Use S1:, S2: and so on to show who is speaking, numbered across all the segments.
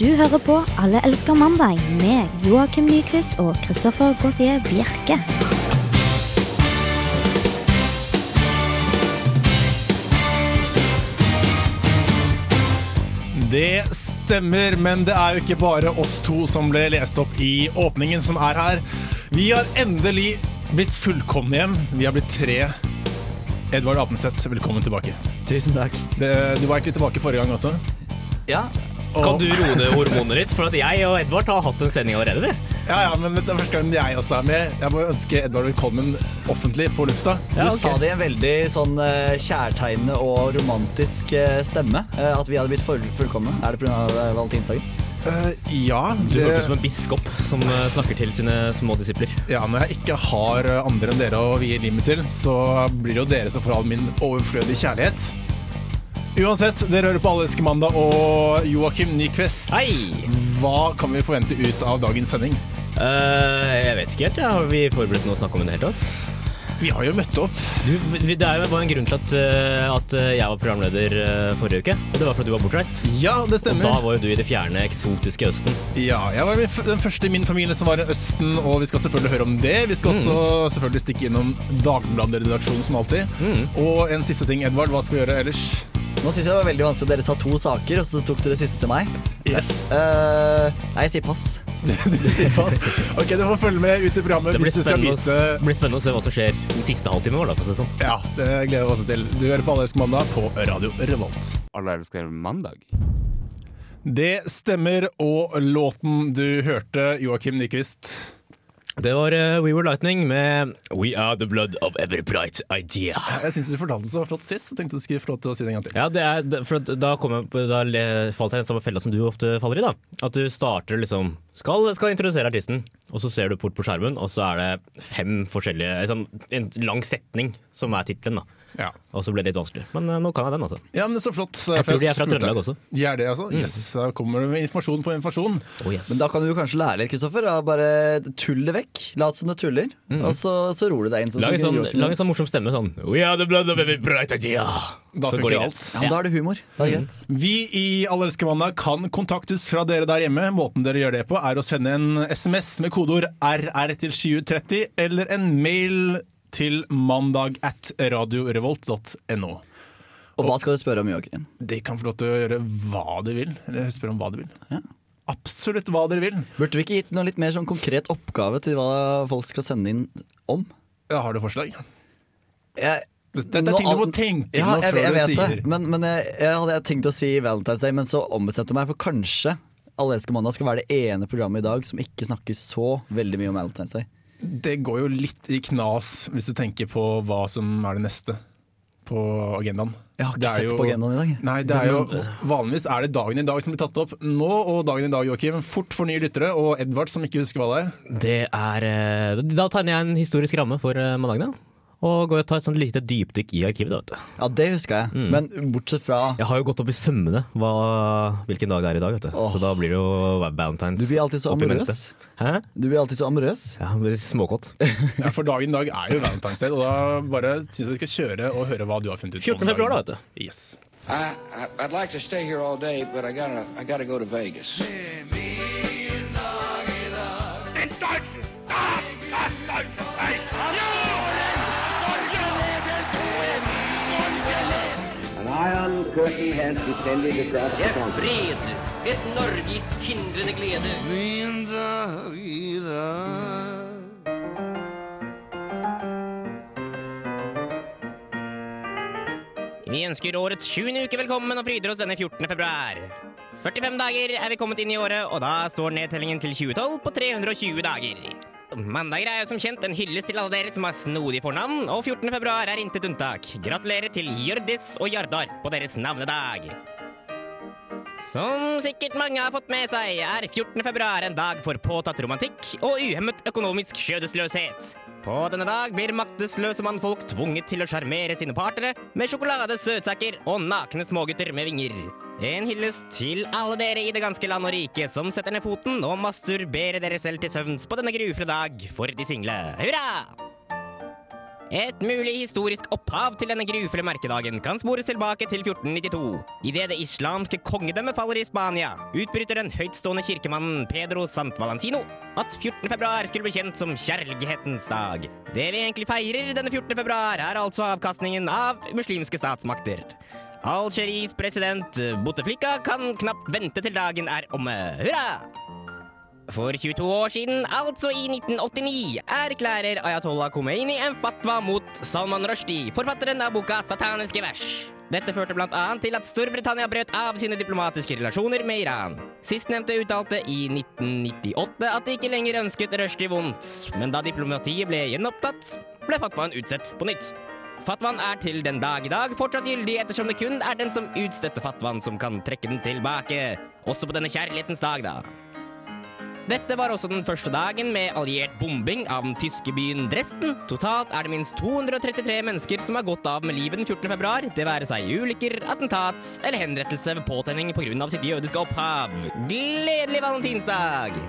S1: Du hører på Alle elsker mandag med Joakim Nyquist og Kristoffer Gautier Bjerke.
S2: Det stemmer, men det er jo ikke bare oss to som ble lest opp i åpningen som er her. Vi har endelig blitt fullkomne igjen. Vi har blitt tre. Edvard Apenseth, velkommen tilbake.
S3: Tusen takk.
S2: Det, du var egentlig tilbake forrige gang også.
S3: Ja.
S2: Og-
S3: Kan du roe ned hormonene ditt? For at jeg og Edvard har hatt en sending allerede. vi.
S2: Ja, ja, men dette er første gang jeg også er med. Jeg må ønske Edvard velkommen offentlig på lufta.
S4: Du
S3: Ja, ok.
S4: sa det i en veldig sånn eh, kjærtegnende og romantisk eh, stemme. eh, At vi hadde blitt full fullkomne. Er det pga. valentinsdagen?
S2: Eh, ja,
S3: Du
S2: det,
S3: hørtes ut som en biskop som eh, snakker til sine små disipler.
S2: ja, når jeg ikke har andre enn dere å vie livet til, så blir det jo dere som får all min overflødige kjærlighet. Uansett, dere hører på Alleske mandag og Joakim Nyquist.
S3: Hei!
S2: Hva kan vi forvente ut av dagens sending?
S3: Eh, jeg vet ikke helt. Ja. Har vi forberedt noe å snakke om i det hele tatt?
S2: Vi har jo møtt opp.
S3: Du, vi- det er jo bare en grunn til at, eh, at eh, jeg var programleder eh, forrige uke. Og det var fordi du var bortreist.
S2: Ja, det
S3: Og da
S2: stemmer.
S3: var jo du i det fjerne, eksotiske Østen.
S2: Ja, jeg var den første i min familie som var i Østen, og vi skal selvfølgelig høre om det. Vi
S3: Mm.
S2: skal også selvfølgelig stikke innom Dagbladet-redaksjonen som alltid.
S3: Mm.
S2: Og en siste ting, Edvard. Hva skal vi gjøre ellers?
S4: Nå syns jeg det var veldig vanskelig at dere sa to saker, og så tok dere siste til meg.
S2: Yes.
S4: Eh, nei, jeg sier pass.
S2: Ok, du får følge med ut i programmet
S3: Det blir
S2: hvis du skal
S3: spennende, å s-
S2: vite
S3: blir spennende å se hva som skjer den siste halvtimen vår. da, for å si det sånn.
S2: Ja, det gleder vi oss til. Du hører på Allersk mandag på Radio Revolt.
S5: Alle elsker mandag.
S2: Det stemmer, og låten du hørte, Joakim Nyquist
S3: Det var eh, We Were Lightning med We Are The Blood Of Every Bright Idea.
S2: Jeg syns du fortalte det så flott sist, så tenkte jeg skulle få lov til å si det en gang til.
S3: Ja, det er, det- for at da, kom jeg, på- da le- falt jeg i den samme fella som du ofte faller i. da At du starter liksom skal, skal introdusere artisten, og så ser du bort på skjermen, og så er det fem forskjellige sånn, En lang setning som er tittelen, da.
S2: Ja.
S3: Og så ble det litt vanskelig. Men eh, nå kan jeg den, altså.
S2: ja, men så flott.
S3: Jeg tror de er fra Trøndelag også. Mm.
S2: De er det, altså? Yes, da kommer det med informasjon på informasjon.
S3: Oh, yes.
S4: Men da kan du kanskje lære litt, Kristoffer. av Bare tull det vekk. Lat som du tuller, og så, så ror du deg inn. Sånn,
S3: Mm. Lag en
S4: som
S3: sånn,
S4: Joakim.
S3: lag en sånn morsom stemme sånn We are the blood of every bright idea.
S2: Da
S3: Så går
S2: funker
S3: det
S2: alt.
S4: ja, men da er det humor. Da
S3: Mm.
S4: er det greit.
S2: Vi i Allerske mandag kan kontaktes fra dere der hjemme. Måten dere gjør det på, er å sende en SMS med kodeord RR til 2030, eller en mail til mandag at radiorevolt.no.
S4: Og hva skal du spørre om, Joakim?
S2: De kan få lov til å gjøre hva de vil. Eller spørre om hva de vil. Absolutt hva dere vil.
S4: Burde vi ikke gitt noe litt mer sånn konkret oppgave til hva folk skal sende inn om?
S2: Jeg har du forslag?
S4: Jeg,
S2: Dette er ting du må tenke
S4: ja,
S2: på
S4: jeg,
S2: før
S4: jeg
S2: du
S4: vet
S2: sier.
S4: Det. Men, men jeg, jeg hadde tenkt å si Valentine's Day, men så ombestemte jeg meg, for kanskje Alle elsker mandag skal være det ene programmet i dag som ikke snakker så veldig mye om Valentine's Day.
S2: Det går jo litt i knas hvis du tenker på hva som er det neste på agendaen.
S4: Jeg har ikke
S2: Det er
S4: sett
S2: jo-
S4: på agendaen i dag.
S2: Nei, det er jo Vanligvis er det dagen i dag som blir tatt opp. Nå og dagen i dag, Joakim. Fort for nye lyttere. Og Edvard, som ikke husker hva det er.
S3: Det er eh, Da tegner jeg en historisk ramme for eh, mandagen. da. Og går og tar et sånt lite dypdykk i arkivet. da, vet du.
S4: Ja, det huska jeg.
S5: Mm.
S4: Men bortsett fra
S3: Jeg har jo gått opp i sømmene hva, hvilken dag det er i dag, vet du.
S4: Åh.
S3: så da blir det jo Valentine's.
S4: Du blir alltid så
S3: opp i mente.
S4: amorøs.
S3: Hæ?
S4: Du blir alltid så amorøs.
S3: Ja, men småkåt.
S2: Ja, for dagen i dag er jo Valentine's Day, og da bare syns jeg vi skal kjøre og høre hva du har funnet ut. om
S3: 14. februar, da,
S2: dagen.
S3: vet du.
S2: Yes.
S6: I, I I'd like to stay here all day, but I gotta I gotta go to Vegas.
S7: An iron curtain has descended across the continent.
S8: fred, et Norge i tindrende glede.
S3: Vi ønsker årets sjuende uke velkommen og fryder oss denne 14. februar. 45 dager er vi kommet inn i året, og da står nedtellingen til 2012 på 320 dager. Mandager er jo som kjent en hyllest til alle dere som har snodige fornavn, og 14. februar er intet unntak. Gratulerer til Hjørdis og Jardar på deres navnedag. Som sikkert mange har fått med seg, er 14. februar en dag for påtatt romantikk og uhemmet økonomisk skjødesløshet. På denne dag blir maktesløse mannfolk tvunget til å sjarmere sine partnere med sjokolade, søtsaker og nakne smågutter med vinger. En hyllest til alle dere i det ganske land og rike som setter ned foten og masturberer dere selv til søvns på denne grufle dag for de single. Hurra! Et mulig historisk opphav til denne grufulle merkedagen kan spores tilbake til 1492. Idet det islamske kongedømmet faller i Spania, utbryter den høytstående kirkemannen Pedro Sant Valentino at 14. februar skulle bli kjent som kjærlighetens dag. Det vi egentlig feirer denne 14. februar, er altså avkastningen av muslimske statsmakter. Algeries president Bouteflika kan knapt vente til dagen er omme. Hurra! For 22 år siden, altså i 1989, erklærer Ayatollah Khomeini en fatwa mot Salman Rushdie, forfatteren av boka Sataniske vers. Dette førte blant annet til at Storbritannia brøt av sine diplomatiske relasjoner med Iran. Sistnevnte uttalte i 1998 at de ikke lenger ønsket Rushdie vondt, men da diplomatiet ble gjenopptatt, ble fatwaen utsatt på nytt. Fatwaen er til den dag i dag fortsatt gyldig ettersom det kun er den som utstøtte fatwaen som kan trekke den tilbake. Også på denne kjærlighetens dag, da. Dette var også den første dagen med alliert bombing av den tyske byen Dresden. Totalt er det minst 233 mennesker som har gått av med livet den 14. februar, det være seg i ulykker, attentat eller henrettelse ved påtenning pga. sitt jødiske opphav. Gledelig valentinsdag!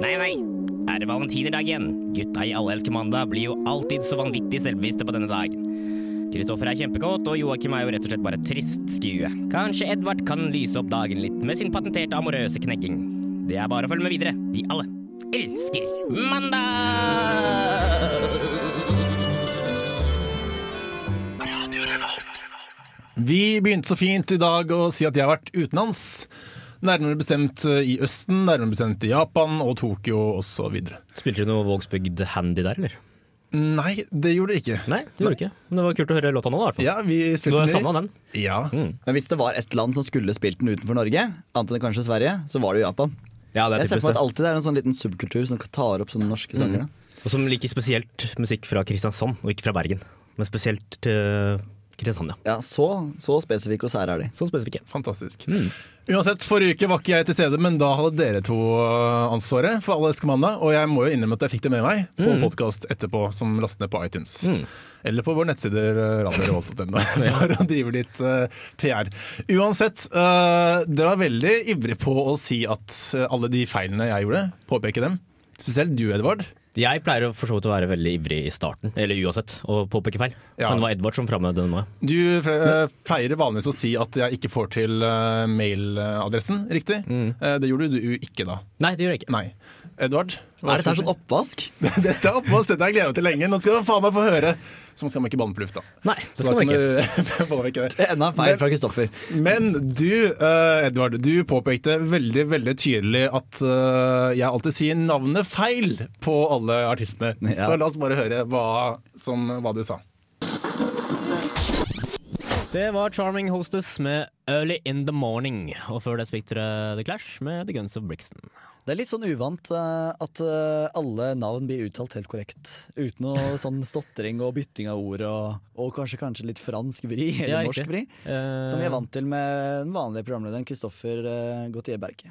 S3: Nei, nei. Er det valentinerdag igjen? Gutta i Allelske mandag blir jo alltid så vanvittig selvbevisste på denne dagen. Kristoffer er kjempekåt, og Joakim er jo rett og slett bare et trist skue. Kanskje Edvard kan lyse opp dagen litt med sin patenterte amorøse knekking. Det er bare å følge med videre. Vi alle elsker mandag!
S2: Vi begynte så fint i dag å si at jeg har vært utenlands. Nærmere bestemt eh, i Østen, nærmere bestemt i Japan og Tokyo osv.
S5: Spilte du noe Vågsbygd Handy der, eller?
S2: Nei, det gjorde det ikke.
S5: Nei, det gjorde du ikke. Men det var kult å høre låta nå, i hvert fall.
S2: Ja, vi
S5: Du
S2: spilte den
S5: har
S2: i-
S5: savna den. Mm.
S2: Ja.
S4: Men hvis det var et land som skulle spilt den utenfor Norge, annet enn kanskje Sverige, så var det jo Japan.
S5: Ja, det er
S4: Jeg ser for meg
S5: typisk det.
S4: at
S5: Mm.
S4: alltid det er en sånn liten subkultur som tar opp sånne norske sanger. da.
S5: Og som liker spesielt musikk fra Kristiansand, og ikke fra Bergen. Men spesielt til Kristiansand, ja.
S4: Ja, så, så spesifikke og sære er de.
S5: Så Sånn spesifikke.
S2: Fantastisk. Uansett, Forrige uke var ikke jeg til stede, men da hadde dere to eh, ansvaret. for alle elsker mandag, Og jeg må jo innrømme at jeg fikk det med meg på podkast etterpå, som lastes ned på iTunes. Eller på våre nettsider eh, radiorevolt.no, for å drive litt eh, PR. Uansett, eh, dere var veldig ivrige på å si at eh, alle de feilene jeg gjorde, påpeke dem. Spesielt du, Edvard.
S5: Jeg pleier å for så vidt å være veldig ivrig i starten, eller uansett, og påpeke feil.
S2: Ja.
S5: Men det var Edvard som framhevet den nå. ja.
S2: Du eh, pleier vanligvis å si at jeg ikke får til eh, mailadressen riktig. Eh, Det gjorde du ikke da.
S5: Nei, det gjør jeg ikke.
S2: Nei. Edvard? hva
S4: Er dette
S2: synes
S4: her sånn oppvask?
S2: du? Dette er oppvask, dette har jeg gledet meg til lenge. Nå skal du faen meg få høre. Så skal man ikke banne på lufta.
S5: Nei, det
S2: Så
S5: skal
S2: da
S5: man ikke.
S2: kan du- banner ikke det.
S4: Det er Enda en feil fra Kristoffer.
S2: Men du, eh, Edvard, du påpekte veldig veldig tydelig at eh, jeg alltid sier navnet feil på alle artistene.
S4: Ja.
S2: Så la oss bare høre hva, som, hva du sa.
S9: Det var Charming Hostess med Early In The Morning. Og før det fikk dere The Clash med The Guns of Brixton.
S4: Det er litt sånn uvant eh, at eh, alle navn blir uttalt helt korrekt. Uten noe sånn stotring og bytting av ord og, og kanskje, kanskje litt fransk vri, eller
S9: Ja,
S4: norsk
S9: riktig.
S4: vri.
S9: Eh,
S4: Som vi er vant til med den vanlige programlederen Kristoffer uh, Gautier Berke.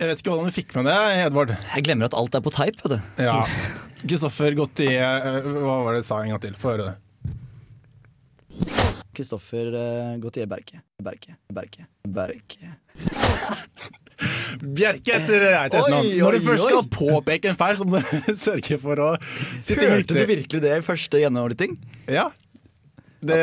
S2: Jeg vet ikke hvordan du fikk med det, Edvard.
S4: Jeg glemmer at alt er på teip, vet du.
S2: Ja. Kristoffer Gautier, eh, hva var det du sa en gang til? Få høre det.
S4: Kristoffer uh, Gautier Berke. Berke. Berke. Berke.
S2: Bjerke heter jeg til
S4: Oi,
S2: etternavn. Når
S4: oi,
S2: du først
S4: oi.
S2: skal påpeke en feil, så må du sørge for å si ting
S4: Hørte du
S2: riktig.
S4: virkelig det i første gjennomlytting?
S2: Ja. Det,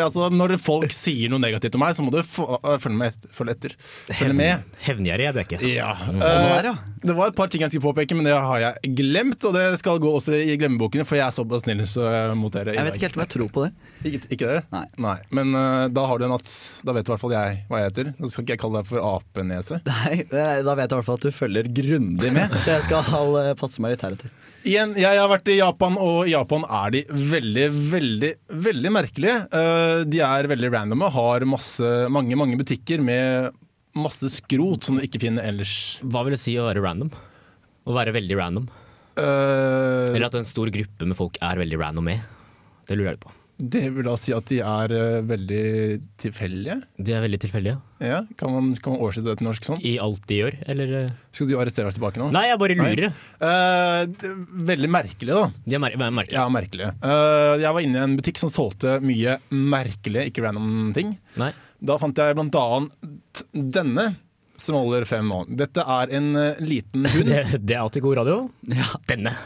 S2: altså, når folk sier noe negativt om meg, så må du få, følge, med, et- følge etter. Følge med.
S5: Hevngjerrig er Bjerke.
S2: Ja.
S4: der,
S2: Eh,
S4: ja.
S2: det var et par ting jeg skulle påpeke, men det har jeg glemt. Og det skal gå også i glemmebokene, for jeg er såpass snill så jeg mot dere. i
S4: Jeg vet
S2: dag.
S4: ikke helt om jeg tror på det.
S2: Ikke, ikke det?
S4: Nei.
S2: Men eh, da har du en at Da vet i hvert fall jeg hva jeg heter. Så skal ikke jeg kalle deg for apenese.
S4: Nei, eh, Da vet jeg i hvert fall at du følger grundig med, så jeg skal eh, passe meg litt heretter.
S2: Igjen, jeg har vært i Japan, og i Japan er de veldig, veldig, veldig merkelige. Eh, De er veldig randome, har masse, mange, mange butikker med masse skrot som du ikke finner ellers.
S5: Hva vil det si å være random? Å være veldig random?
S2: Eh,
S5: Eller at en stor gruppe med folk er veldig random med? Det lurer jeg litt på.
S2: Det vil da si at de er eh, veldig tilfeldige.
S5: De er veldig tilfeldige.
S2: Ja, kan man, kan man oversette det til norsk sånn?
S5: I alt de gjør, eller eh?
S2: Skal du arrestere oss tilbake nå?
S5: Nei, jeg bare lurer.
S2: Eh, det er veldig merkelig, da.
S5: De er mer merkelige.
S2: Ja, merkelig. Eh, jeg var inne i en butikk som solgte mye merkelige, ikke random ting.
S5: Nei.
S2: Da fant jeg blant annet denne. som holder frem nå. Dette er en eh, liten hund.
S10: Det, det er alltid god radio. Denne.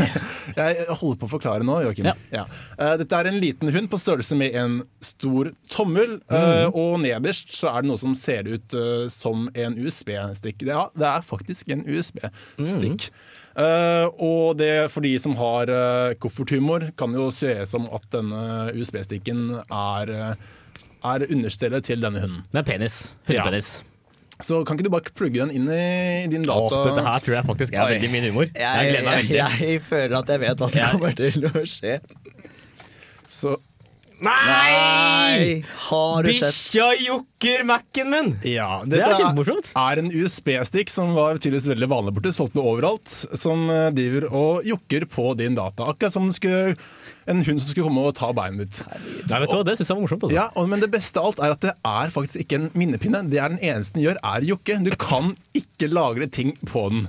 S2: Jeg holder på å forklare nå, Joakim.
S3: Ja.
S2: Ja. Eh, Dette er en liten hund på størrelse med en stor tommel.
S10: Mm.
S2: eh, Og nederst så er det noe som ser ut eh, som en USB-stikk. Ja, det er faktisk en USB-stikk.
S10: Mm.
S2: Eh, og det for de som har eh, kofferthumor, kan jo se som at denne USB-stikken er, eh, er understellet til denne hunden.
S3: Det er penis. Hundepenis.
S2: Så kan ikke du bare plugge den inn i din
S3: Åh,
S2: data?
S3: dette her tror jeg faktisk er
S4: Oi.
S3: veldig min humor. Jeg
S4: Jeg,
S3: gleder meg veldig.
S4: jeg føler at jeg vet hva som
S3: Jeg-
S4: kommer til å skje.
S2: Så
S4: Nei! Har du sett
S3: Bikkja jokker Mac-en min!
S2: Ja,
S3: Det
S2: dette
S3: er kjempemorsomt.
S2: er en USB-stikk som var tydeligvis veldig vanlig borte, solgt noe overalt, som eh, driver og jokker på din data. Akkurat som den skulle, en hund som skulle komme og ta beinet ditt.
S3: Nei, vet du hva, Det syns jeg var morsomt. Altså.
S2: Ja, og, men det beste av alt er at det er faktisk ikke en minnepinne. Det er den eneste den gjør, er å jokke. Du kan ikke lagre ting på den.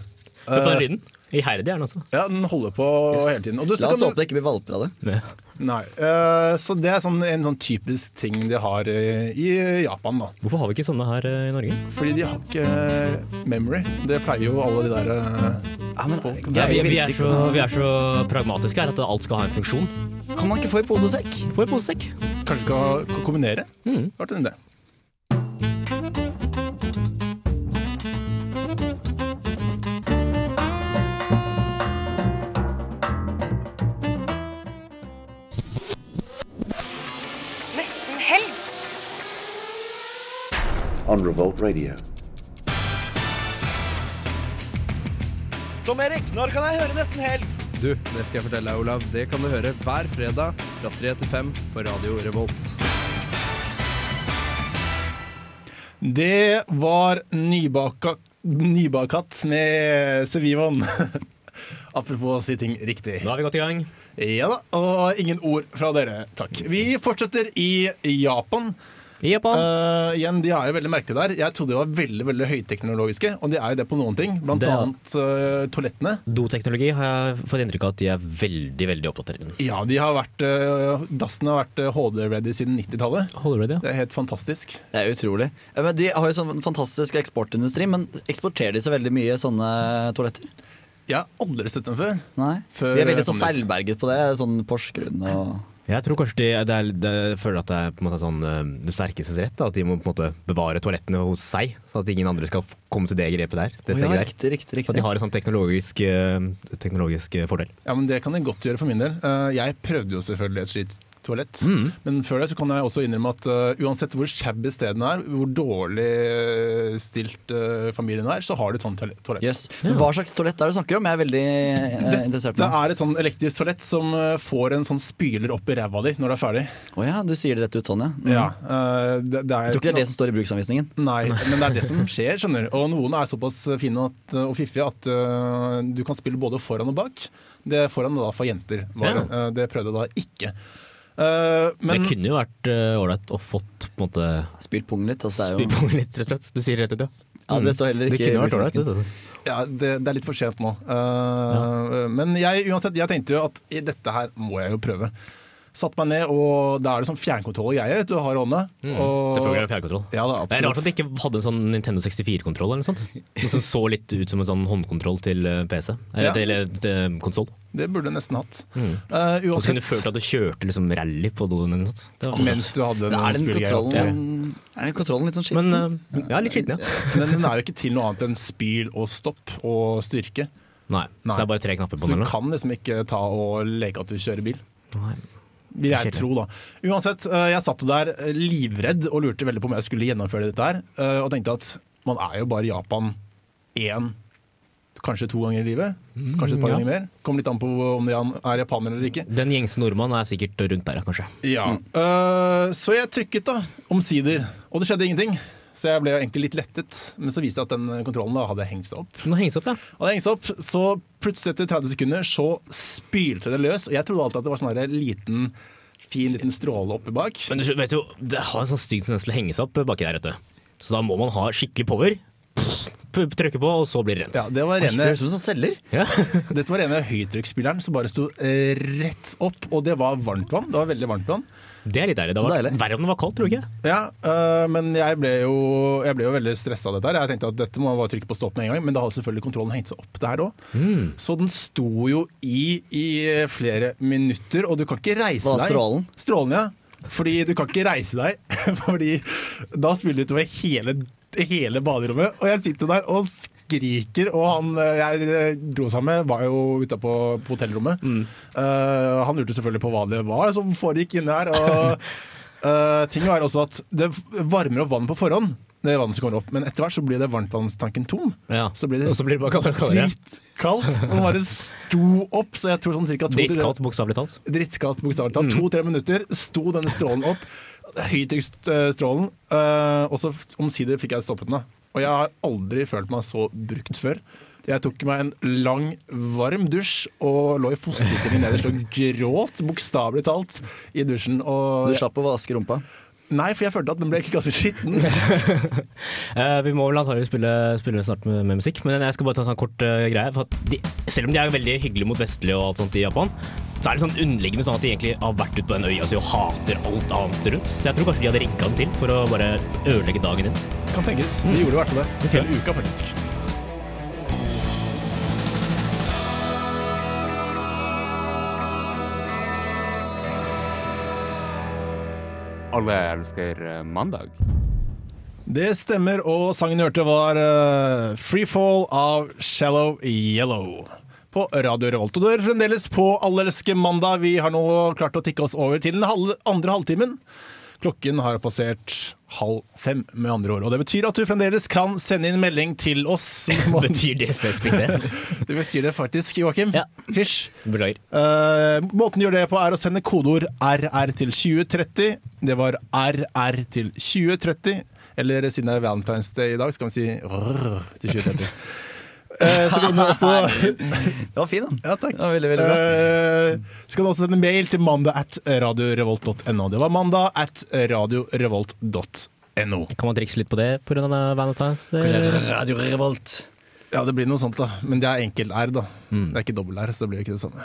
S3: Hør på den lyden. Iherdig er den altså. også.
S2: Ja, Den holder på hele tiden. Og du, så
S4: La oss
S2: kan
S4: håpe det ikke blir valper av det.
S2: du, nei, eh, så det er sånn, en sånn typisk ting de har eh, i Japan, da.
S3: Hvorfor har vi ikke sånne her eh, i Norge?
S2: Fordi de har ikke eh, memory. Det pleier jo alle de der eh,
S4: Ja, men,
S3: Ja, vi, vi, er så, vi er så pragmatiske her at alt skal ha en funksjon.
S4: Kan man ikke få i pose og sekk?
S3: Få en posesekk.
S2: Kanskje skal ko- kombinere? Mm. Vært en idé.
S8: Nesten helg.
S5: On Revolt Radio.
S11: Tom Erik, når kan jeg høre Nesten Helg?
S12: Du, det skal jeg fortelle deg, Olav. Det kan du høre hver fredag fra 3 til 5 på Radio Revolt.
S2: Det var nybaka, nybakatt med Sevivon. Apropos å si ting riktig.
S3: Da er vi godt i gang.
S2: Ja da, og ingen ord fra dere, takk. Vi fortsetter i Japan.
S3: I Japan.
S2: Eh, igjen, De er jo veldig merkelige der. Jeg trodde de var veldig veldig høyteknologiske, og de er jo det på noen ting. Blant
S3: Det er-
S2: annet eh, toalettene.
S3: Doteknologi har jeg fått inntrykk av at de er veldig veldig oppdatert. i den.
S2: Ja, de har vært, eh, Dassene har vært HD-ready siden 90-tallet.
S3: Holder du det?
S2: Det er helt fantastisk.
S4: Det er utrolig. Ja, Men de har jo sånn fantastisk eksportindustri, men eksporterer de så veldig mye sånne toaletter?
S2: Jeg har aldri sett dem før.
S4: Nei.
S2: Før
S4: vi er veldig
S2: jeg
S4: sånn
S2: kom dit.
S4: selvberget på det. Sånn Porsgrunn og
S3: Jeg tror kanskje de, det er, det, jeg føler at det er på en måte sånn eh, det sterkestes rett. Da, at de må på en måte bevare toalettene hos seg, så at ingen andre skal f- komme til det grepet der. Det
S4: Å,
S3: steget
S4: ja,
S3: der.
S4: Riktig, riktig,
S3: Så at de
S4: riktig.
S3: har en sånn teknologisk, eh, teknologisk eh, fordel.
S2: Ja, men Det kan jeg godt gjøre for min del. Eh, Jeg prøvde jo selvfølgelig et slikt toalett.
S3: Mm.
S2: Men før det så kan jeg også innrømme at eh, uansett hvor shabby stedene er, hvor dårlig eh, stilt eh, familien er, så har de et sånt toal- toalett.
S4: Yes. Men Hva slags toalett er det du snakker om? Jeg er veldig eh, interessert
S2: Det
S4: i det.
S2: er et sånn elektrisk toalett som eh, får en sånn spyler opp i ræva di når det er ferdig.
S4: Å ja, du sier det rett ut sånn, ja. Mm.
S2: Ja, eh, det, det er,
S4: Jeg tror ikke det er det som står i bruksanvisningen.
S2: Nei, men det er det som skjer, skjønner du. Og noen er såpass fine at, eh, og fiffige at øh, du kan spille både foran og bak. Det foran er da for jenter. Bare. Øh, det prøvde jeg da ikke. Øh, men
S3: det kunne jo vært eh, ålreit å fått på en måte
S4: Spilt pung litt. Altså, det, er jo...
S3: Spypungen litt, rett og slett. Du sier rett ut, ja.
S4: ja, det står heller
S3: Det
S4: ikke i
S3: kunne vært ålreit.
S4: bruksanvisningen.
S3: vet du.
S2: ja, det, det er litt for sent nå. Øh, Men jeg, uansett, jeg tenkte jo at i dette her må jeg jo prøve. Satt meg ned, og da er det sånn fjernkontroll og greier. Du har i hånda.
S4: Mm.
S2: og-
S3: Det følger av fjernkontroll.
S2: Ja, da,
S3: Det er rart at
S2: absolutt.
S3: de ikke hadde en sånn Nintendo 64-kontroll eller noe sånt. Noe som så litt ut som en sånn håndkontroll til eh, PC. Eller
S2: Ja.
S3: til, til konsoll.
S2: Det burde jeg nesten hatt.
S4: Mm.
S2: Øh,
S3: Og så kunne du
S2: uansett,
S3: følt at du kjørte liksom rally på doen eller noe sånt. Det var-
S2: mens du hadde
S4: Er den
S2: spillegreia oppi.
S4: kontrollen, er den kontrollen litt sånn skitten?
S3: Men eh, jeg er litt sliten, ja.
S2: Men den er jo ikke til noe annet enn spyl og stopp og styrke.
S3: Nei,
S2: Nei.
S3: Så det er bare tre knapper på
S2: Så
S3: den?
S2: du
S3: eller?
S2: kan liksom ikke ta og leke at du kjører bil.
S3: Nei.
S2: Vil jeg
S3: Kjedelig.
S2: tro, da. Uansett, eh, jeg satt jo der eh, livredd og lurte veldig på om jeg skulle gjennomføre dette her. eh, Og tenkte at man er jo bare i Japan én, kanskje to ganger i livet. Kanskje et par
S3: ja.
S2: ganger mer. Kommer litt an på om de er japaner eller ikke.
S3: Den gjengse nordmann er sikkert rundt der, ja, kanskje.
S2: Ja. eh, så jeg trykket, da, omsider. Og det skjedde ingenting. Så jeg ble jo egentlig litt lettet. Men så viste det at den eh, kontrollen da hadde hengt seg opp.
S3: Nå henges opp, ja.
S2: Og det hengs opp, så plutselig etter 30 sekunder så spylte det løs. Og jeg trodde alltid at det var sånn der liten, fin liten stråle oppi bak.
S3: Men du vet jo, det har en sånn stygg tendens til å henge seg opp baki der, vet du. Så da må man ha skikkelig power. Pff, p- trykke på, og så blir det rent.
S2: Ja, det var rene-
S3: Oi, det høres
S4: ut som sånn selger.
S2: Dette var ene høytrykksspilleren som bare sto eh, rett opp, og det var varmt vann. Det var veldig varmt vann.
S3: Det er litt deilig. Det
S2: Så
S3: var
S2: deilig.
S3: verre om det var kaldt, tror jeg.
S2: Ja, øh, men jeg ble jo, jeg ble jo veldig stressa av dette her. Jeg tenkte at dette må jeg bare trykke på stopp med en gang, men da hadde selvfølgelig kontrollen hengt seg opp der òg.
S4: Mm.
S2: Så den sto jo i i flere minutter, og du kan ikke reise
S4: Hva,
S2: deg.
S4: strålen?
S2: Strålen, ja. Fordi du kan ikke reise deg, fordi da spiller du utover hele Hele baderommet, og jeg sitter der og skriker. Og han øh, jeg dro sammen med, var jo utapå på hotellrommet.
S3: Mm.
S2: Eh, han lurte selvfølgelig på hva det var som foregikk inne her. Og Eh, ting er også at det varmer opp vann på forhånd, det vannet som kommer opp, men etter hvert så blir det varmtvannstanken tom. Så blir det,
S3: Og så blir det bare kaldere og kaldere.
S2: dritkaldt. Og den bare sto opp, så jeg tror sånn cirka to
S3: Drittkaldt, bokstavelig talt.
S2: Drittkaldt, bokstavelig talt.
S4: Mm.
S2: To-tre minutter sto denne strålen opp. Høytrykksstrålen. Uh, og så omsider fikk jeg stoppet den. da. Og jeg har aldri følt meg så brukt før. Jeg tok meg en lang, varm dusj og lå i fosterstilling nederst og gråt, bokstavelig talt, i dusjen. Og
S4: Du slapp å vaske rumpa?
S2: Nei, for jeg følte at den ble ikke ganske skitten.
S3: Eh, vi må vel antagelig spille, spille snart med, med musikk, men jeg skal bare ta en sånn kort eh, greie. For at de, selv om de er veldig hyggelige mot vestlige og alt sånt i Japan, så er det sånn underliggende sånn at de egentlig har vært ute på den øya si og hater alt annet rundt. Så jeg tror kanskje de hadde rigga den til for å bare ødelegge dagen din.
S2: Kan tenkes. De gjorde i hvert fall det.
S3: tror jeg.
S2: Hele uka, faktisk.
S13: Alle elsker eh, mandag.
S2: Det stemmer, og sangen du hørte var eh, Free Fall av Shallow Yellow. På Radio Revolt. Og du hører fremdeles på Allelske mandag. Vi har nå klart å tikke oss over til den halve, andre halvtimen. Klokken har passert halv fem, med andre ord. Og det betyr at du fremdeles kan sende inn melding til oss.
S3: Betyr det spesifikt det?
S2: det betyr det faktisk, Joakim. Hysj.
S3: Beklager.
S2: Eh, måten du gjør det på er å sende kodeord RR til 2030. Det var RR til 2030. Eller siden det er Valentine's Day i dag, skal vi si RR til 2030. Eh, så kan du også
S4: Det var fin, den.
S2: Ja, takk.
S4: veldig, veldig bra.
S2: Eh, så kan du også sende mail til mandag at radiorevolt.no. Det var mandag at radiorevolt.no.
S3: Kan man trikse litt på det pga. Valentine's? eh?
S2: Radio Revolt. Ja, det blir noe sånt, da. Men det er enkelt R, da. Det er ikke dobbel R, så det blir jo ikke det samme.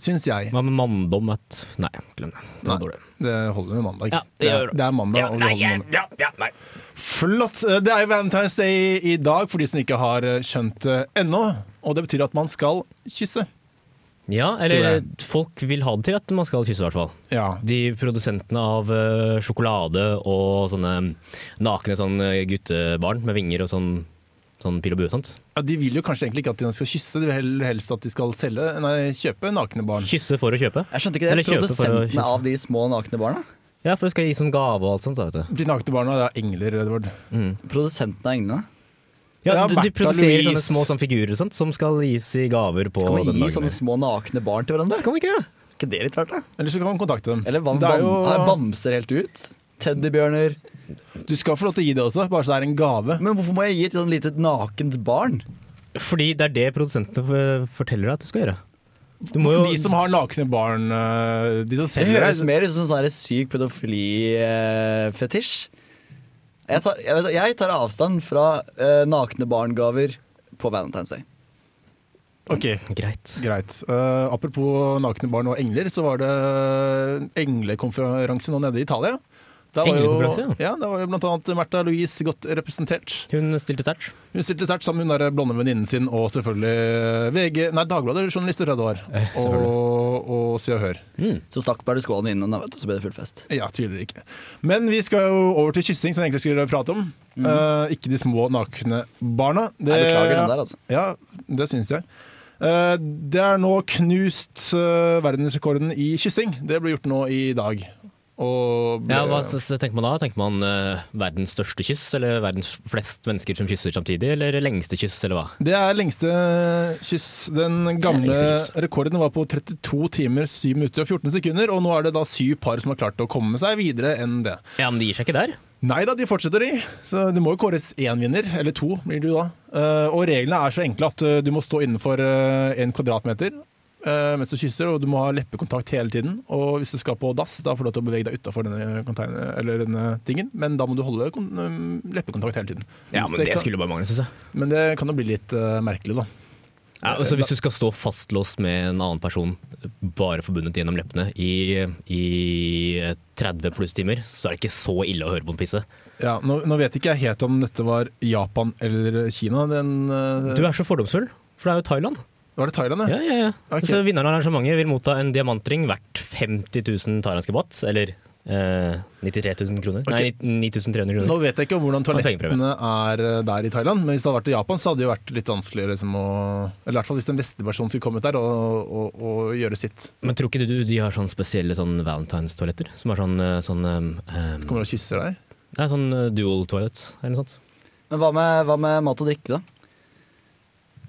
S2: Syns jeg.
S3: Hva med manndom? At Nei, glem det. Det var
S2: Nei,
S3: dårlig.
S2: det holder med mandag.
S3: Ja, det
S2: det,
S3: gjør
S2: er,
S3: det.
S2: det er mandag, og vi
S3: nei,
S2: holder med mandag.
S3: ja, ja, nei.
S2: Flott. Det er jo Valentine's Day i dag, for de som ikke har eh, skjønt det ennå. Og det betyr at man skal kysse.
S3: Ja,
S2: Tror
S3: eller
S2: jeg.
S3: folk vil ha det til at man skal kysse, i hvert fall.
S2: Ja.
S3: De produsentene av eh, sjokolade og sånne nakne sånn eh, guttebarn med vinger og sånn, sånn pil og bue og sånt.
S2: Ja, de vil jo kanskje egentlig ikke at de skal kysse, de vil hell- helst at de skal selge, nei, kjøpe nakne barn.
S3: Kysse for å kjøpe.
S4: Jeg skjønte ikke det.
S3: Eller kjøpe for å kysse.
S4: Produsentene av de små nakne barna?
S3: Ja, for du skal gi sånn gave og alt sånt. Da, vet du.
S2: De nakne barna det er engler, Edvard.
S4: Produsentene av englene?
S3: Ja,
S2: Ja,
S3: de, de
S2: Bertha
S3: produserer sånne
S2: Louise.
S3: små sånn figurer og sånt, som skal gis i gaver på
S4: Skal man
S3: den
S4: gi
S3: dagen.
S4: sånne små nakne barn til hverandre?
S3: Skal man ikke det?
S4: Er ikke det litt rart, da?
S2: Eller så kan man kontakte dem.
S4: Eller hva om
S2: Det er
S4: bam
S2: jo-
S4: er bamser helt ut? Teddybjørner?
S2: Du skal få lov til å gi det også, bare så det er en gave.
S4: Men hvorfor må jeg gi et sånn lite nakent barn?
S3: Fordi det er det produsentene f- forteller deg at du skal gjøre. Du må jo
S2: De som har nakne barn, øh, de som
S4: Det
S2: selger
S4: høres
S2: det
S4: mer ut som en sånn her syk pedofili-fetisj. Jeg, tar- jeg, vet- jeg tar avstand fra eh, nakne barn-gaver på Valentine's Day.
S2: Ok,
S3: Greit.
S2: greit. Eh, apropos nakne barn og engler, så var det englekonferanse nå nede i Italia. Da var jo-
S3: Englekonferanse,
S2: ja. Da var jo blant annet Märtha Louise godt representert.
S3: Hun stilte sterkt.
S2: Hun stilte sterkt sammen med hun der blonde venninnen sin og selvfølgelig VG Nei, Dagbladet-journalister, tror jeg det var. Og, og Se og Hør.
S4: Så stakk Berlusconi innom, da, vet du, så ble det full fest.
S2: Ja, tviler ikke. Men vi skal jo over til kyssing, som vi egentlig skulle prate om. Eh, ikke de små nakne barna. Det,
S4: Jeg Mm. beklager den der, altså.
S2: Ja, det syns jeg. Eh, det er nå knust eh, verdensrekorden i kyssing. Det ble gjort nå i dag. Og ble,
S3: Ja, hva s- s- tenker man da? Tenker man eh, verdens største kyss, eller verdens flest mennesker som kysser samtidig, eller lengste kyss, eller hva?
S2: Det er lengste kyss. Den gamle
S3: Det er lengste kyss.
S2: rekorden var på 32 timer, 7 minutter og 14 sekunder, og nå er det da syv par som har klart å komme seg videre enn det.
S3: Ja, men de gir seg ikke der.
S2: Nei da, de fortsetter, de. Så det må jo kåres én vinner, eller to blir det jo da. Eh, Og reglene er så enkle at eh, du må stå innenfor eh, en kvadratmeter, eh, mens du kysser, og du må ha leppekontakt hele tiden. Og hvis du skal på dass, da får du lov til å bevege deg utafor denne, container- eller denne tingen, men da må du holde kon eh, leppekontakt hele tiden.
S3: Ja, men
S2: Så
S3: det
S2: kan-
S3: skulle bare mangle, synes jeg.
S2: Men det kan jo bli litt eh, merkelig, da.
S3: Ja, altså Hvis du skal stå fastlåst med en annen person, bare forbundet gjennom leppene, i, i 30 pluss timer, så er det ikke så ille å høre på en pisse.
S2: Ja, nå, nå vet ikke jeg helt om dette var Japan eller Kina. Den, eh,
S3: Du er så fordomsfull, for det er jo Thailand.
S2: Var det Thailand,
S3: Ja, ja, ja.
S2: Ok.
S3: Så vinneren av arrangementet vil motta en diamantring verdt 50 000 thailandske baht, eller eh, 93 000 kroner.
S2: Ok.
S3: Nei, 9300
S2: Nå
S3: kroner.
S2: vet jeg ikke om hvordan
S3: Og en
S2: toalettene er eh, der i Thailand, men hvis det hadde vært i Japan, så hadde det jo vært litt vanskeligere liksom, å Eller i hvert fall hvis en vestlig person skulle kommet der og, og, og gjøre sitt.
S3: Men tror ikke du de har sånn spesielle sånn valentines-toaletter? Som er sånn, eh, sånn um,
S2: Kommer og kysser deg?
S3: Nei, sånn eh, dual toilet eller noe sånt.
S4: Men hva med, hva med mat og drikke, da?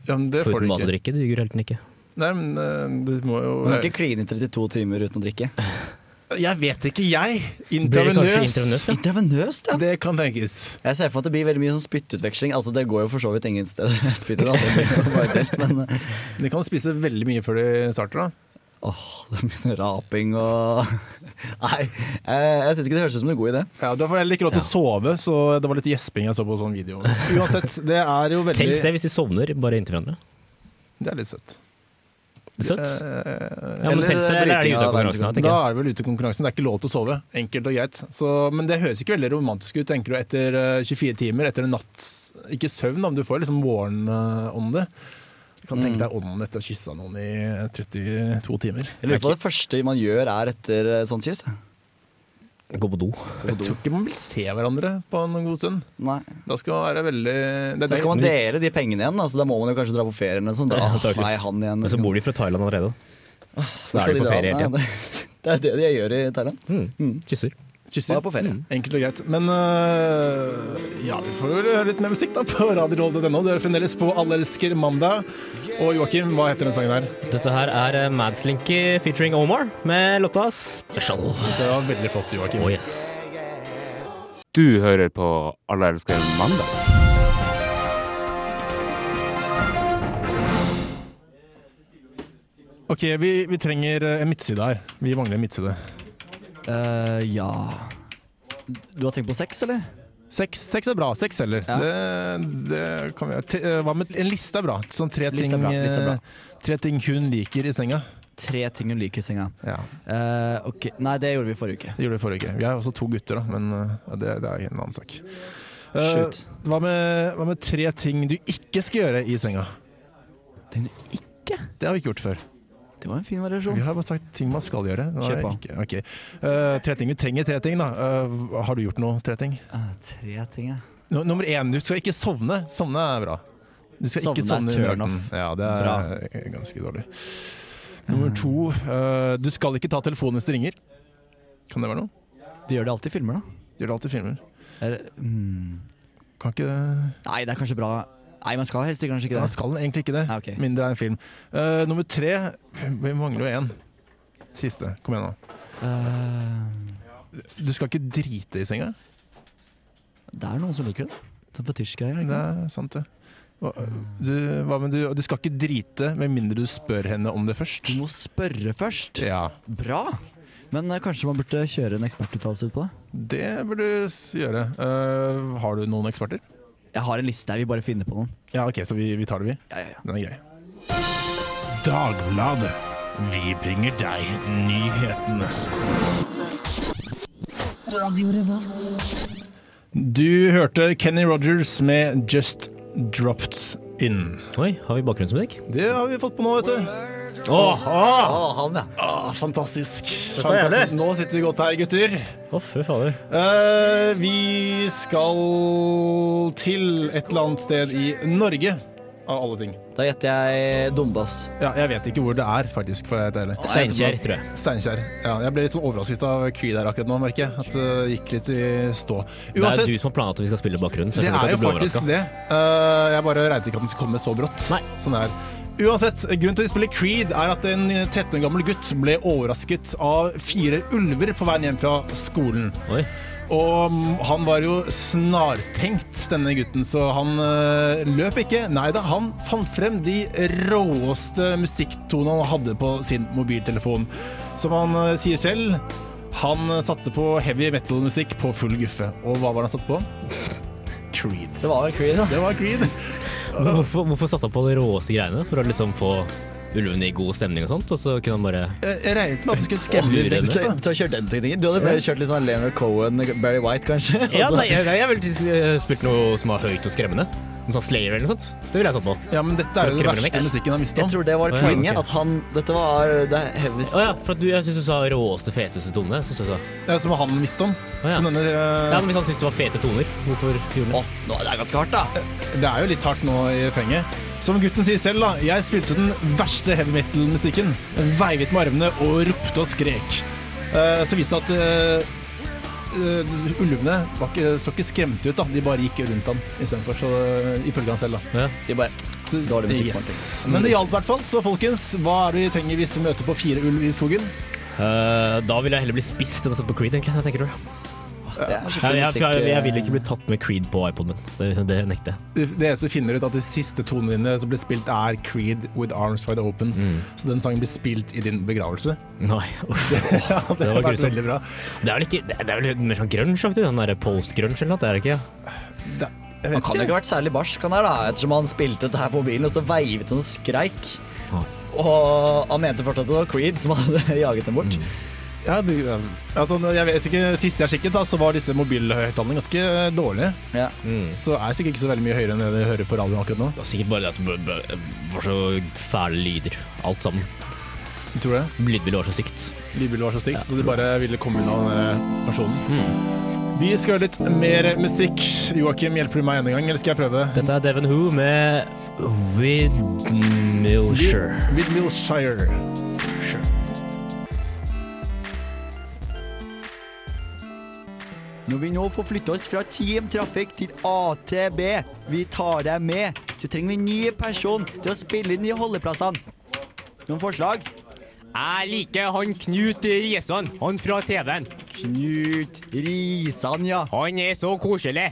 S2: Ja, men det får
S3: Foruten
S2: du
S3: mat og
S2: ikke.
S3: drikke, det duger helten ikke.
S2: Nei, men eh, du må jo
S4: Man kan ikke kline i 32 timer uten å drikke.
S2: Jeg vet ikke, jeg.
S4: Blir det kanskje
S2: Intravenøs.
S4: intravenøst, ja? Intravenøst,
S2: Det kan tenkes.
S4: Jeg ser for meg at det blir veldig mye sånn spyttutveksling. Altså, det går jo for så vidt ingen steder. Jeg spytter jo aldri på bare telt, men eh,
S2: De kan spise veldig mye før de starter, da.
S4: åh, det begynner raping og Nei, jeg, jeg syns ikke det høres ut som en god idé.
S2: Ja, Du har for heller ikke lov til å sove, så det var litt gjesping jeg så på sånn video. Uansett, det er jo veldig
S3: Tels det hvis de sovner bare inntil hverandre.
S2: Det er litt søtt.
S3: Søtt?
S2: Eh,
S3: Ja, men tels det, eller er det
S2: bryting
S3: ute av
S2: av
S3: konkurransen,
S2: verdensrekorden.
S4: liksom.
S3: da, tenker
S2: Da er
S3: jeg?
S2: det vel ute av konkurransen. Det er ikke lov til å sove. Enkelt og greit. Så, men det høres ikke veldig romantisk ut, tenker du, etter eh, 24 timer, etter en natts Ikke søvn, da, men du får liksom morgenånde. Du kan
S4: Mm.
S2: tenke deg ånden etter å ha kyssa noen i 32 timer.
S4: Jeg lurer på hva det første man gjør er etter eh, sånt kyss.
S3: Gå på do.
S2: Jeg tror ikke man vil se hverandre på en god stund.
S4: Nei.
S2: Da skal man være veldig det er
S4: Da skal man
S2: det-
S4: dele de pengene igjen. Altså, da må man jo kanskje dra på ferie eller sånn. noe sånt.
S3: Ja,
S4: Åh,
S3: antakeligvis.
S4: nei, han igjen.
S2: liksom.
S3: Men så bor de fra Thailand allerede. Da er de på ferie hele
S4: tida.
S3: tida.
S4: Det er det de gjør i Thailand.
S2: Mm.
S3: Kysser.
S2: Kysser. Mm.
S4: Man er på ferie.
S2: Enkelt og greit. Men øh, ja, vi får vel høre litt mer musikk da på radioroll.no. Du hører fremdeles på Alle elsker mandag. Og Joakim, hva heter den sangen her?
S3: Dette her er eh, Madslinky featuring Omar med låta Special.
S2: Synes jeg var veldig flott, Joakim.
S3: Oh, yes.
S13: Du hører på Alle elsker mandag.
S2: Ok, vi, vi trenger eh, en midtside her. Vi mangler en midtside.
S4: Eh, ja Du har tenkt på sex, eller?
S2: Sex, sex er bra. Sex selger. Det, det kan vi gjøre. Te- eh, Hva med en liste er bra? Sånn tre
S4: Liste er
S2: ting,
S4: bra, liste er bra.
S2: eh, tre ting hun liker i senga.
S4: Tre ting hun liker i senga.
S2: Ja.
S4: Eh, ok. Nei, det gjorde vi forrige uke.
S2: Det gjorde vi forrige uke. Vi er også to gutter, da, men eh, ja, det, det er en annen sak. Eh,
S4: Shoot.
S2: hva, med, hva med tre ting du ikke skal gjøre i senga?
S4: Ting du
S2: ikke? Det har vi ikke gjort før.
S4: Det var en fin variasjon.
S2: Vi har bare sagt ting man skal gjøre. Nå har
S4: Kjør
S2: jeg
S4: på.
S2: Ikke, ok. Eh, tre ting. Vi trenger tre ting, da. Eh, hva- har du gjort noe? Tre ting?
S4: Eh, tre ting, ja.
S2: Nu- nummer én, du skal ikke sovne. Sovne er bra. Du skal ikke
S4: Sovne
S2: sovne
S4: er
S2: under
S4: turn off.
S2: akten. Ja, det er
S4: Bra.
S2: eh, ganske dårlig. Nummer to, eh, du skal ikke ta telefonen hvis det ringer. Kan det være noe?
S4: De gjør det alltid i filmer, da.
S2: Gjør det alltid i filmer.
S4: Er, det- mm.
S2: Kan ikke det
S4: Nei, det er kanskje bra Nei, man skal helst kanskje ikke
S2: Da
S4: det.
S2: skal den egentlig ikke det.
S4: Nei, Ah, ok.
S2: Mindre er en film. Eh, nummer tre Vi mangler jo én. Siste. Kom igjen, nå.
S4: Eh,
S2: Du skal ikke drite i senga.
S4: det er noen som liker det. Sånn fetisjgreier.
S2: Det er
S4: ikke sant?
S2: sant, det. Hva, du, hva med du, du skal ikke drite med mindre du spør henne om det først.
S4: Du må spørre først.
S2: Ja,
S4: Bra! Men eh, kanskje man burde kjøre en ekspertuttalelse ut på det?
S2: det burde du s- gjøre. Eh, har du noen eksperter?
S4: Jeg har en liste her, vi bare finner på noen.
S2: Ja, OK, så vi, vi tar det, vi.
S4: Ja, ja, ja.
S2: Den er grei. Dagbladet. Vi bringer deg nyhetene. Du hørte Kenny Rogers med 'Just Dropped In'.
S3: Oi, har vi bakgrunnsmusikk?
S2: Det har vi fått på nå, vet du.
S3: Åh, åh!
S4: han, ja.
S2: Ah, fantastisk.
S3: er jævlig.
S2: fantastisk. Nå sitter vi godt her, gutter.
S3: Å, fy fader.
S2: Eh, vi skal til et eller annet sted i Norge, av alle ting.
S4: Da gjetter jeg Dombås.
S2: Ja, jeg vet ikke hvor det er, faktisk. for å være helt ærlig.
S3: Steinkjer, tror jeg.
S2: Steinkjer. Ja, jeg ble litt sånn overrasket av Creed her akkurat nå, merker jeg. At eh, det gikk litt i stå.
S3: Det er jo du som har planlagt at vi skal spille bakgrunnen. Så
S2: Det
S3: jeg skjønner
S2: er jo
S3: ikke at du blir
S2: faktisk
S3: overrasket.
S2: det. Eh, jeg bare regnet ikke at den skulle komme så brått.
S3: Nei.
S2: Sånn er. det. Uansett, grunnen til at vi spiller Creed er at en 13 år gammel gutt ble overrasket av fire ulver på veien hjem fra skolen.
S3: Oi.
S2: Og han var jo snartenkt, denne gutten, så han eh, løp ikke. Nei da, han fant frem de råeste musikktonene han hadde på sin mobiltelefon. Som han eh, sier selv, han eh, satte på heavy metal-musikk på full guffe. Og hva var det han satte på? Creed. Det
S4: var Creed,
S2: Det var Creed.
S3: Men Hvorfor, hvorfor satte han på de råeste greiene? For å liksom få ulvene i god stemning og sånt? Og så kunne han bare
S2: Eh, Jeg regnet med at du skulle
S3: skremme litt vekk, da.
S4: Du har kjørt den teknikken. Du hadde bare kjørt litt sånn Leonard Cohen, Barry White, kanskje. Altså,
S3: Ja,
S4: Og så-
S3: nei, jeg, jeg ville sk- eh, spilt noe som var høyt og skremmende. Noe sånn Slayer eller noe sånt. Det ville jeg tatt på.
S2: Ja, men dette er jo den verste musikken han visste om.
S3: Jeg
S4: tror det var
S3: Å, ja,
S4: poenget.
S3: ok.
S4: At han Dette var det heaviest
S3: Å ja, for at du, jeg syns du sa råeste, feteste tone. Synes jeg sa.
S2: Ja, som han visste om.
S3: Å, ja.
S2: Som denne, eh,
S3: Ja, men Hvis han syntes det var fete toner, hvorfor gjorde han det?
S4: det er ganske hardt, da.
S2: Det er jo litt hardt nå i fenget. Som gutten sier selv, da. Jeg spilte den verste heavy metal-musikken. Veivet med armene og ropte og skrek. Eh, så viste det seg at eh, eh, ulvene var ikke, så ikke skremte ut, da. De bare gikk rundt han istedenfor, så eh, ifølge han selv, da.
S4: De bare
S2: så,
S4: Dårlig
S2: Yes.
S4: musikksmak.
S2: Men det gjaldt i hvert fall. Så folkens, hva er det vi trenger hvis vi møter på fire ulv i skogen?
S3: Eh, da ville jeg heller bli spist enn å sitte på Creed, egentlig. Hva tenker du?
S4: Jeg,
S3: jeg, jeg, jeg, jeg vil ikke bli tatt med Creed på iPoden min. Det, det nekter jeg.
S2: Det det eneste du finner ut at de siste tonene dine som blir spilt, er Creed with arms wide open.
S3: Mm.
S2: Så den sangen blir spilt i din begravelse.
S3: Nei, uff.
S2: ja, det, har
S3: Det var
S2: vært
S3: grusomt.
S2: veldig bra.
S3: Det er vel ikke Det er- det er vel mer sånn grunge-aktig? Sånn der post-grunge eller noe? Det er det ikke?
S2: Det, jeg vet
S4: Han kan jo
S2: ikke.
S4: ikke ha vært særlig barsk, han her, da, ettersom han spilte dette her på mobilen, og så veivet han og skreik. Og han mente fortsatt at det var Creed som hadde jaget dem bort.
S3: Mm.
S2: Ja, du, eh, altså, jeg vet ikke, Sist jeg sjekket, da, så var disse mobilhøyttalerne ganske eh, dårlige.
S4: Ja.
S2: Så er sikkert ikke så veldig mye høyere enn det du hører på radioen akkurat nå.
S3: Det er sikkert bare det at det b- b- var så fæle lyder, alt sammen.
S2: Tror du det?
S3: Lydbildet var så stygt.
S2: Lydbildet var så stygt, så de bare ville komme unna denne personen. Vi skal høre litt mer musikk. Joakim, hjelper du meg enda en gang, eller skal jeg prøve?
S3: Dette er Devon Who med Widmilshire.
S2: Widmilshire.
S4: Når vi nå får flytte oss fra Team Trafikk til ATB, vi tar deg med, så trenger vi en ny person til å spille inn de holdeplassene. Noen forslag?
S14: Jeg liker han Knut Risan, han fra TV-en.
S4: Knut Risan, ja.
S14: Han er så koselig.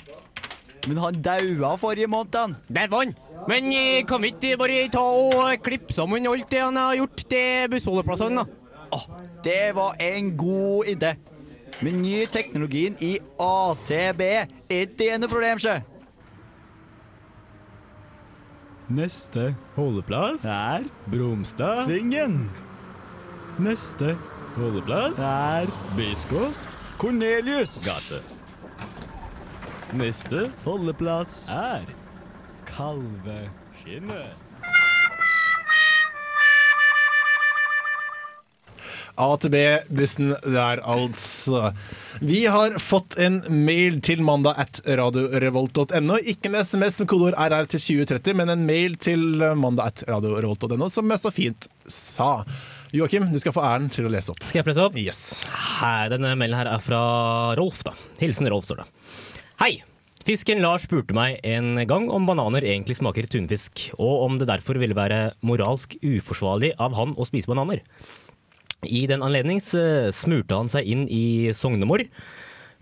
S4: Men han daua forrige måned, han.
S14: Der var han. Men eh, kan vi ikke bare ta og klippe sammen alt det han har gjort til bussholdeplassene, da?
S4: Det var en god idé. Men ny teknologien i ATB, er det noe problem, sjø? Neste holdeplass er Bromstad. Svingen. Neste holdeplass er Biskop. Cornelius. Gate. Neste holdeplass er Kalveskinnet.
S2: A til B-bussen der, altså. Vi har fått en mail til mandag at radiorevolt.no. Ikke en SMS med kodeord RR til 2030, men en mail til mandag at radiorevolt.no, som jeg så fint sa. Joakim, du skal få æren til å lese opp.
S3: Skal jeg presse opp?
S2: Yes.
S3: Her, denne mailen her er fra Rolf, da. Hilsen Rolf, står det. Hei! Fisken Lars spurte meg en gang om bananer egentlig smaker tunfisk, og om det derfor ville være moralsk uforsvarlig av han å spise bananer. I den anledning eh, smurte han seg inn i Sognemor,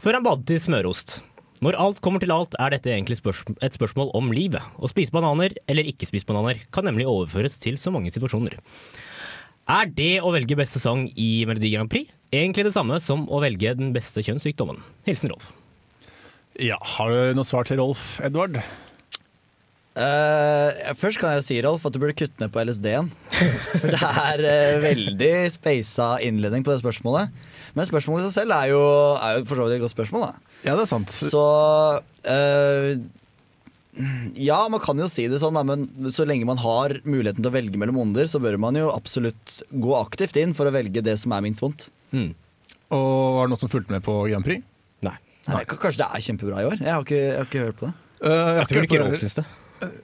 S3: før han badet i smørost. Når alt kommer til alt, er dette egentlig spørs et spørsmål om livet. Å spise bananer eller ikke spise bananer kan nemlig overføres til så mange situasjoner. Er det å velge beste sang i Melodi Grand Prix egentlig det samme som å velge den beste kjønnssykdommen? Hilsen Rolf.
S2: Ja, Har du noe svar til Rolf, Edvard?
S4: Eh, først kan jeg jo si, Rolf, at du burde kutte ned på LSD-en. For det er eh, veldig speisa innledning på det spørsmålet. Men spørsmålet i seg selv er jo, er jo for så vidt et godt spørsmål, da.
S2: Ja, det er sant.
S4: Så eh, Ja, man kan jo si det sånn, da, men så lenge man har muligheten til å velge mellom onder, så bør man jo absolutt gå aktivt inn for å velge det som er minst vondt.
S2: Og var det noen som fulgte med på Grand Prix?
S3: Nei.
S4: Nei, k- kanskje det er kjempebra i år? Jeg har ikke, jeg har ikke hørt på det.
S2: Eh, jeg har
S3: tror
S2: hørt på
S3: ikke
S2: det
S3: Rolf
S2: heller.
S3: syns det.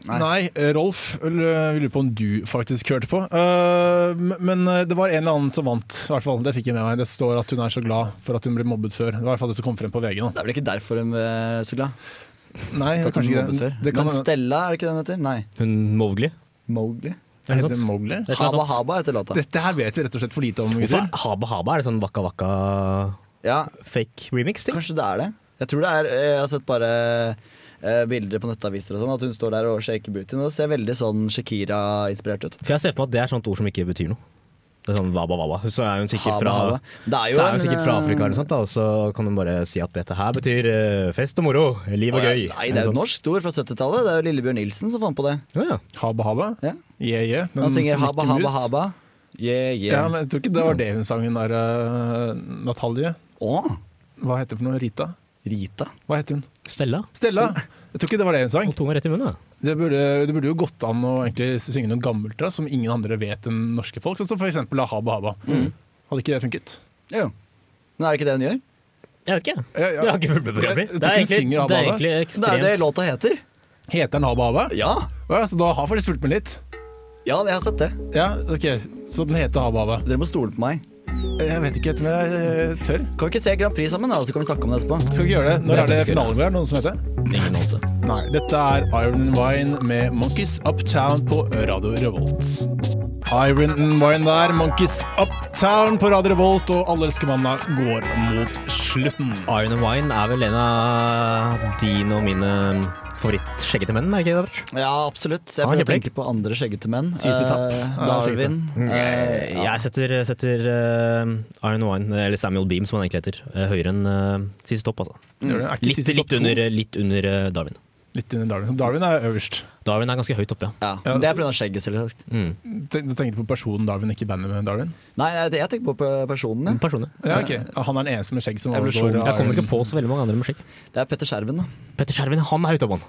S2: Nei. eh, Rolf, eller, vi lurer på om du faktisk hørte på. Eh, m- men eh, det var en eller annen som vant, i hvert fall. Det fikk jeg med meg. Det står at hun er så glad for at hun ble mobbet før. Det var i hvert fall det som kom frem på VG nå.
S4: Det er vel ikke derfor eh, hun er så glad?
S2: Nei,
S4: For at hun
S2: kanskje
S4: ble
S2: ikke det.
S4: mobbet før.
S2: Det kan
S4: Men
S2: hende-
S4: Stella, er det ikke det hun heter? Nei.
S3: Hun Mowgli?
S4: Mowgli?
S2: Er det det Mowgli? Et eller annet
S4: Haba
S2: sånt.
S4: Haba heter låta.
S2: Dette her vet vi rett og slett for lite om.
S3: Hvorfor er Haba Haba? Er det sånn Waka Waka
S4: Ja.
S3: fake remix-ting?
S4: Kanskje det er det. Jeg tror det er Jeg har sett bare eh, bilder på nettaviser og sånn, at hun står der og shaker bootyen. Og det ser veldig sånn Shakira-inspirert ut.
S5: For jeg ser for meg at det er sånt ord som ikke betyr noe. Det er sånn waba waba. Så er hun sikkert
S4: Haba,
S5: fra,
S4: haba. Det er jo
S5: så er hun
S4: en,
S5: sikkert fra
S4: eh,
S5: Afrika eller noe sånt, da. Og så kan hun bare si at dette her betyr eh, fest og moro, liv
S4: Å,
S5: og
S4: ja,
S5: gøy. Sånn.
S4: Nei, det er jo et norsk ord fra 70-tallet. Det er jo Lillebjørn Nilsen som fant på det.
S2: Haba haba?
S4: Ja.
S2: Yeah, yeah. Den
S4: Han synger
S2: Mickey
S4: haba, haba,
S2: Mouse.
S4: haba. Yeah, yeah.
S2: Ja, men jeg tror ikke det var det hun sang, hun der eh, Natalie. Hva heter hun for noe? Rita?
S4: Rita?
S2: Hva heter hun?
S5: Stella.
S2: Stella! Jeg tror ikke det var det hun sang.
S5: rett i munnen, da.
S2: Det burde, det burde jo gått an å egentlig synge noe gammelt da, som ingen andre vet enn norske folk. Sånn som for eksempel da Haba Haba. Hadde ikke det funket?
S4: Jo. Men er det ikke det hun gjør?
S5: Jeg vet ikke.
S2: Ja, ja.
S5: Jeg har ikke fulgt med på programmet.
S2: Jeg- jeg
S5: Det
S2: tror ikke
S5: er
S2: hun
S5: egentlig-
S2: synger Haba
S5: det er
S2: Haba.
S5: egentlig ekstremt-
S4: Det er det låta heter.
S2: Heter den Haba Haba?
S4: Ja.
S2: så da har faktisk fulgt med litt?
S4: Ja, jeg har sett det.
S2: Ja, ok. Så den heter Haba Haba?
S4: Dere må stole på meg.
S2: Jeg vet ikke om jeg eh, tør.
S4: Kan vi ikke se Grand Prix sammen, da, så kan vi snakke om det etterpå?
S2: Skal vi ikke gjøre det? Når er det finalen vår? Er det Noen som vet det?
S5: Ingen anelse.
S2: Nei. Dette er Iron and Wine med Monkeys Uptown på Radio Revolt. Iron and Wine der, Monkeys Uptown på Radio Revolt, og alle elsker mandag går mot slutten.
S5: Iron and Wine er vel en av dine og mine favorittskjeggete menn, er det ikke det? Robert?
S4: Ja, absolutt. Jeg
S5: Ah,
S4: prøver å
S5: kjempelek.
S4: tenke på andre skjeggete menn.
S5: CC Tapp.
S4: Eh,
S5: Ja,
S4: Darwin. Eh,
S5: skjeggete. Jeg-
S4: ja.
S5: Jeg setter, setter eh, Iron Wine, eller Samuel Beam som han egentlig heter, eh, høyere enn uh, siste topp, altså.
S2: Gjør det? Er ikke
S5: Litt,
S2: CC Topp
S5: litt
S2: to?
S5: under, litt under eh, Darwin.
S2: Litt under Darwin. Så Darwin er øverst.
S5: Darwin er ganske høyt oppe, ja.
S4: Ja, det er pga. skjegget, selvsagt.
S5: Mm.
S2: Ten- Du tenkte på personen Darwin, ikke bandet med Darwin?
S4: Nei, jeg, jeg tenker på pe- personene.
S5: Personene.
S2: Ja, ok. Han er den eneste med skjegg som
S4: Jeg ble
S2: overgår
S4: sjokkert.
S5: Jeg kommer ikke på så veldig mange andre med skjegg.
S4: Det er Petter Skjerven, da.
S5: Petter Skjerven, han er høyt oppe, han.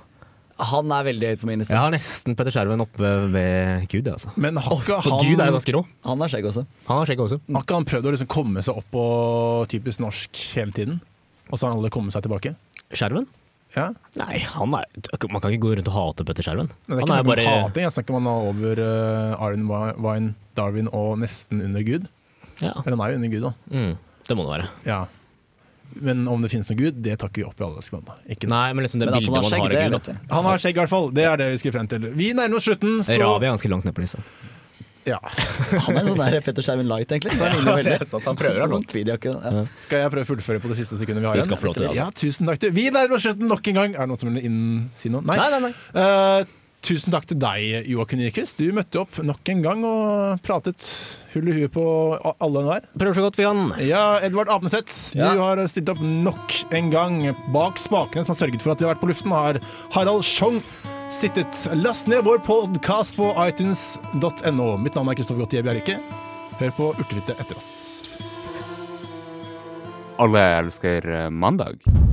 S4: Han er veldig høyt på min liste.
S5: Jeg har nesten Petter Skjerven oppe ved Gud, jeg, altså.
S2: Men har ikke
S5: Og
S2: han
S5: Gud er jo ganske rå.
S4: Han har skjegg også.
S5: Han har skjegg også.
S2: Har ikke han prøvd å liksom komme seg opp på typisk norsk hele tiden? Og så har alle kommet seg tilbake?
S5: Skjerven?
S2: Ja.
S5: Nei, han er Man kan ikke gå rundt og hate Petter
S2: Men
S5: Skjerven.
S2: det er
S5: Han
S2: ikke sånn
S5: er
S2: snakk om
S5: bare
S2: hating, jeg snakker om han er over uh, Arjen Wine, Darwin og nesten under Gud.
S5: Ja.
S2: Eller han er jo under Gud, da.
S5: Mm, det må det være.
S2: Ja. Men om det finnes noen Gud, det tar ikke vi opp i alle skvanda. Ikke noe.
S5: Nei, men liksom det
S4: Men at
S5: bildet
S4: han har
S5: man
S4: skjegg,
S5: har
S4: det
S5: av
S4: er
S5: Gud,
S4: lett,
S5: da.
S4: det.
S2: Han har skjegg, i hvert fall. Det er det vi skulle frem til. Vi nærmer oss slutten, så
S5: Ravi er ganske langt ned på lista.
S2: Ja.
S4: Han er en sånn der Petter Skjerven light, egentlig. Det er noe veldig.
S2: han prøver,
S4: Noen tweedjakke, ja.
S2: Skal jeg prøve å fullføre på det siste sekundet vi har
S5: Du skal få lov til det, altså.
S2: Ja, tusen takk. til- Vi nærmer oss slutten nok en gang. Er det noen som vil inn si noe? Nei.
S5: Nei, nei, nei.
S2: Eh, tusen takk til deg, Joakim Nyquist. Du møtte opp nok en gang og pratet hull i huet på a- alle og enhver.
S5: Prøver så godt vi kan.
S2: Ja, Edvard Apneseth,
S4: Ja.
S2: du har stilt opp nok en gang. Bak spakene som har sørget for at vi har vært på luften, har Harald Schjong sittet. Last ned vår podkast på itunes.no. Mitt navn er Kristoffer Gottier Bjerke. Hør på Urtefitte etter oss.
S13: Alle elsker eh, mandag.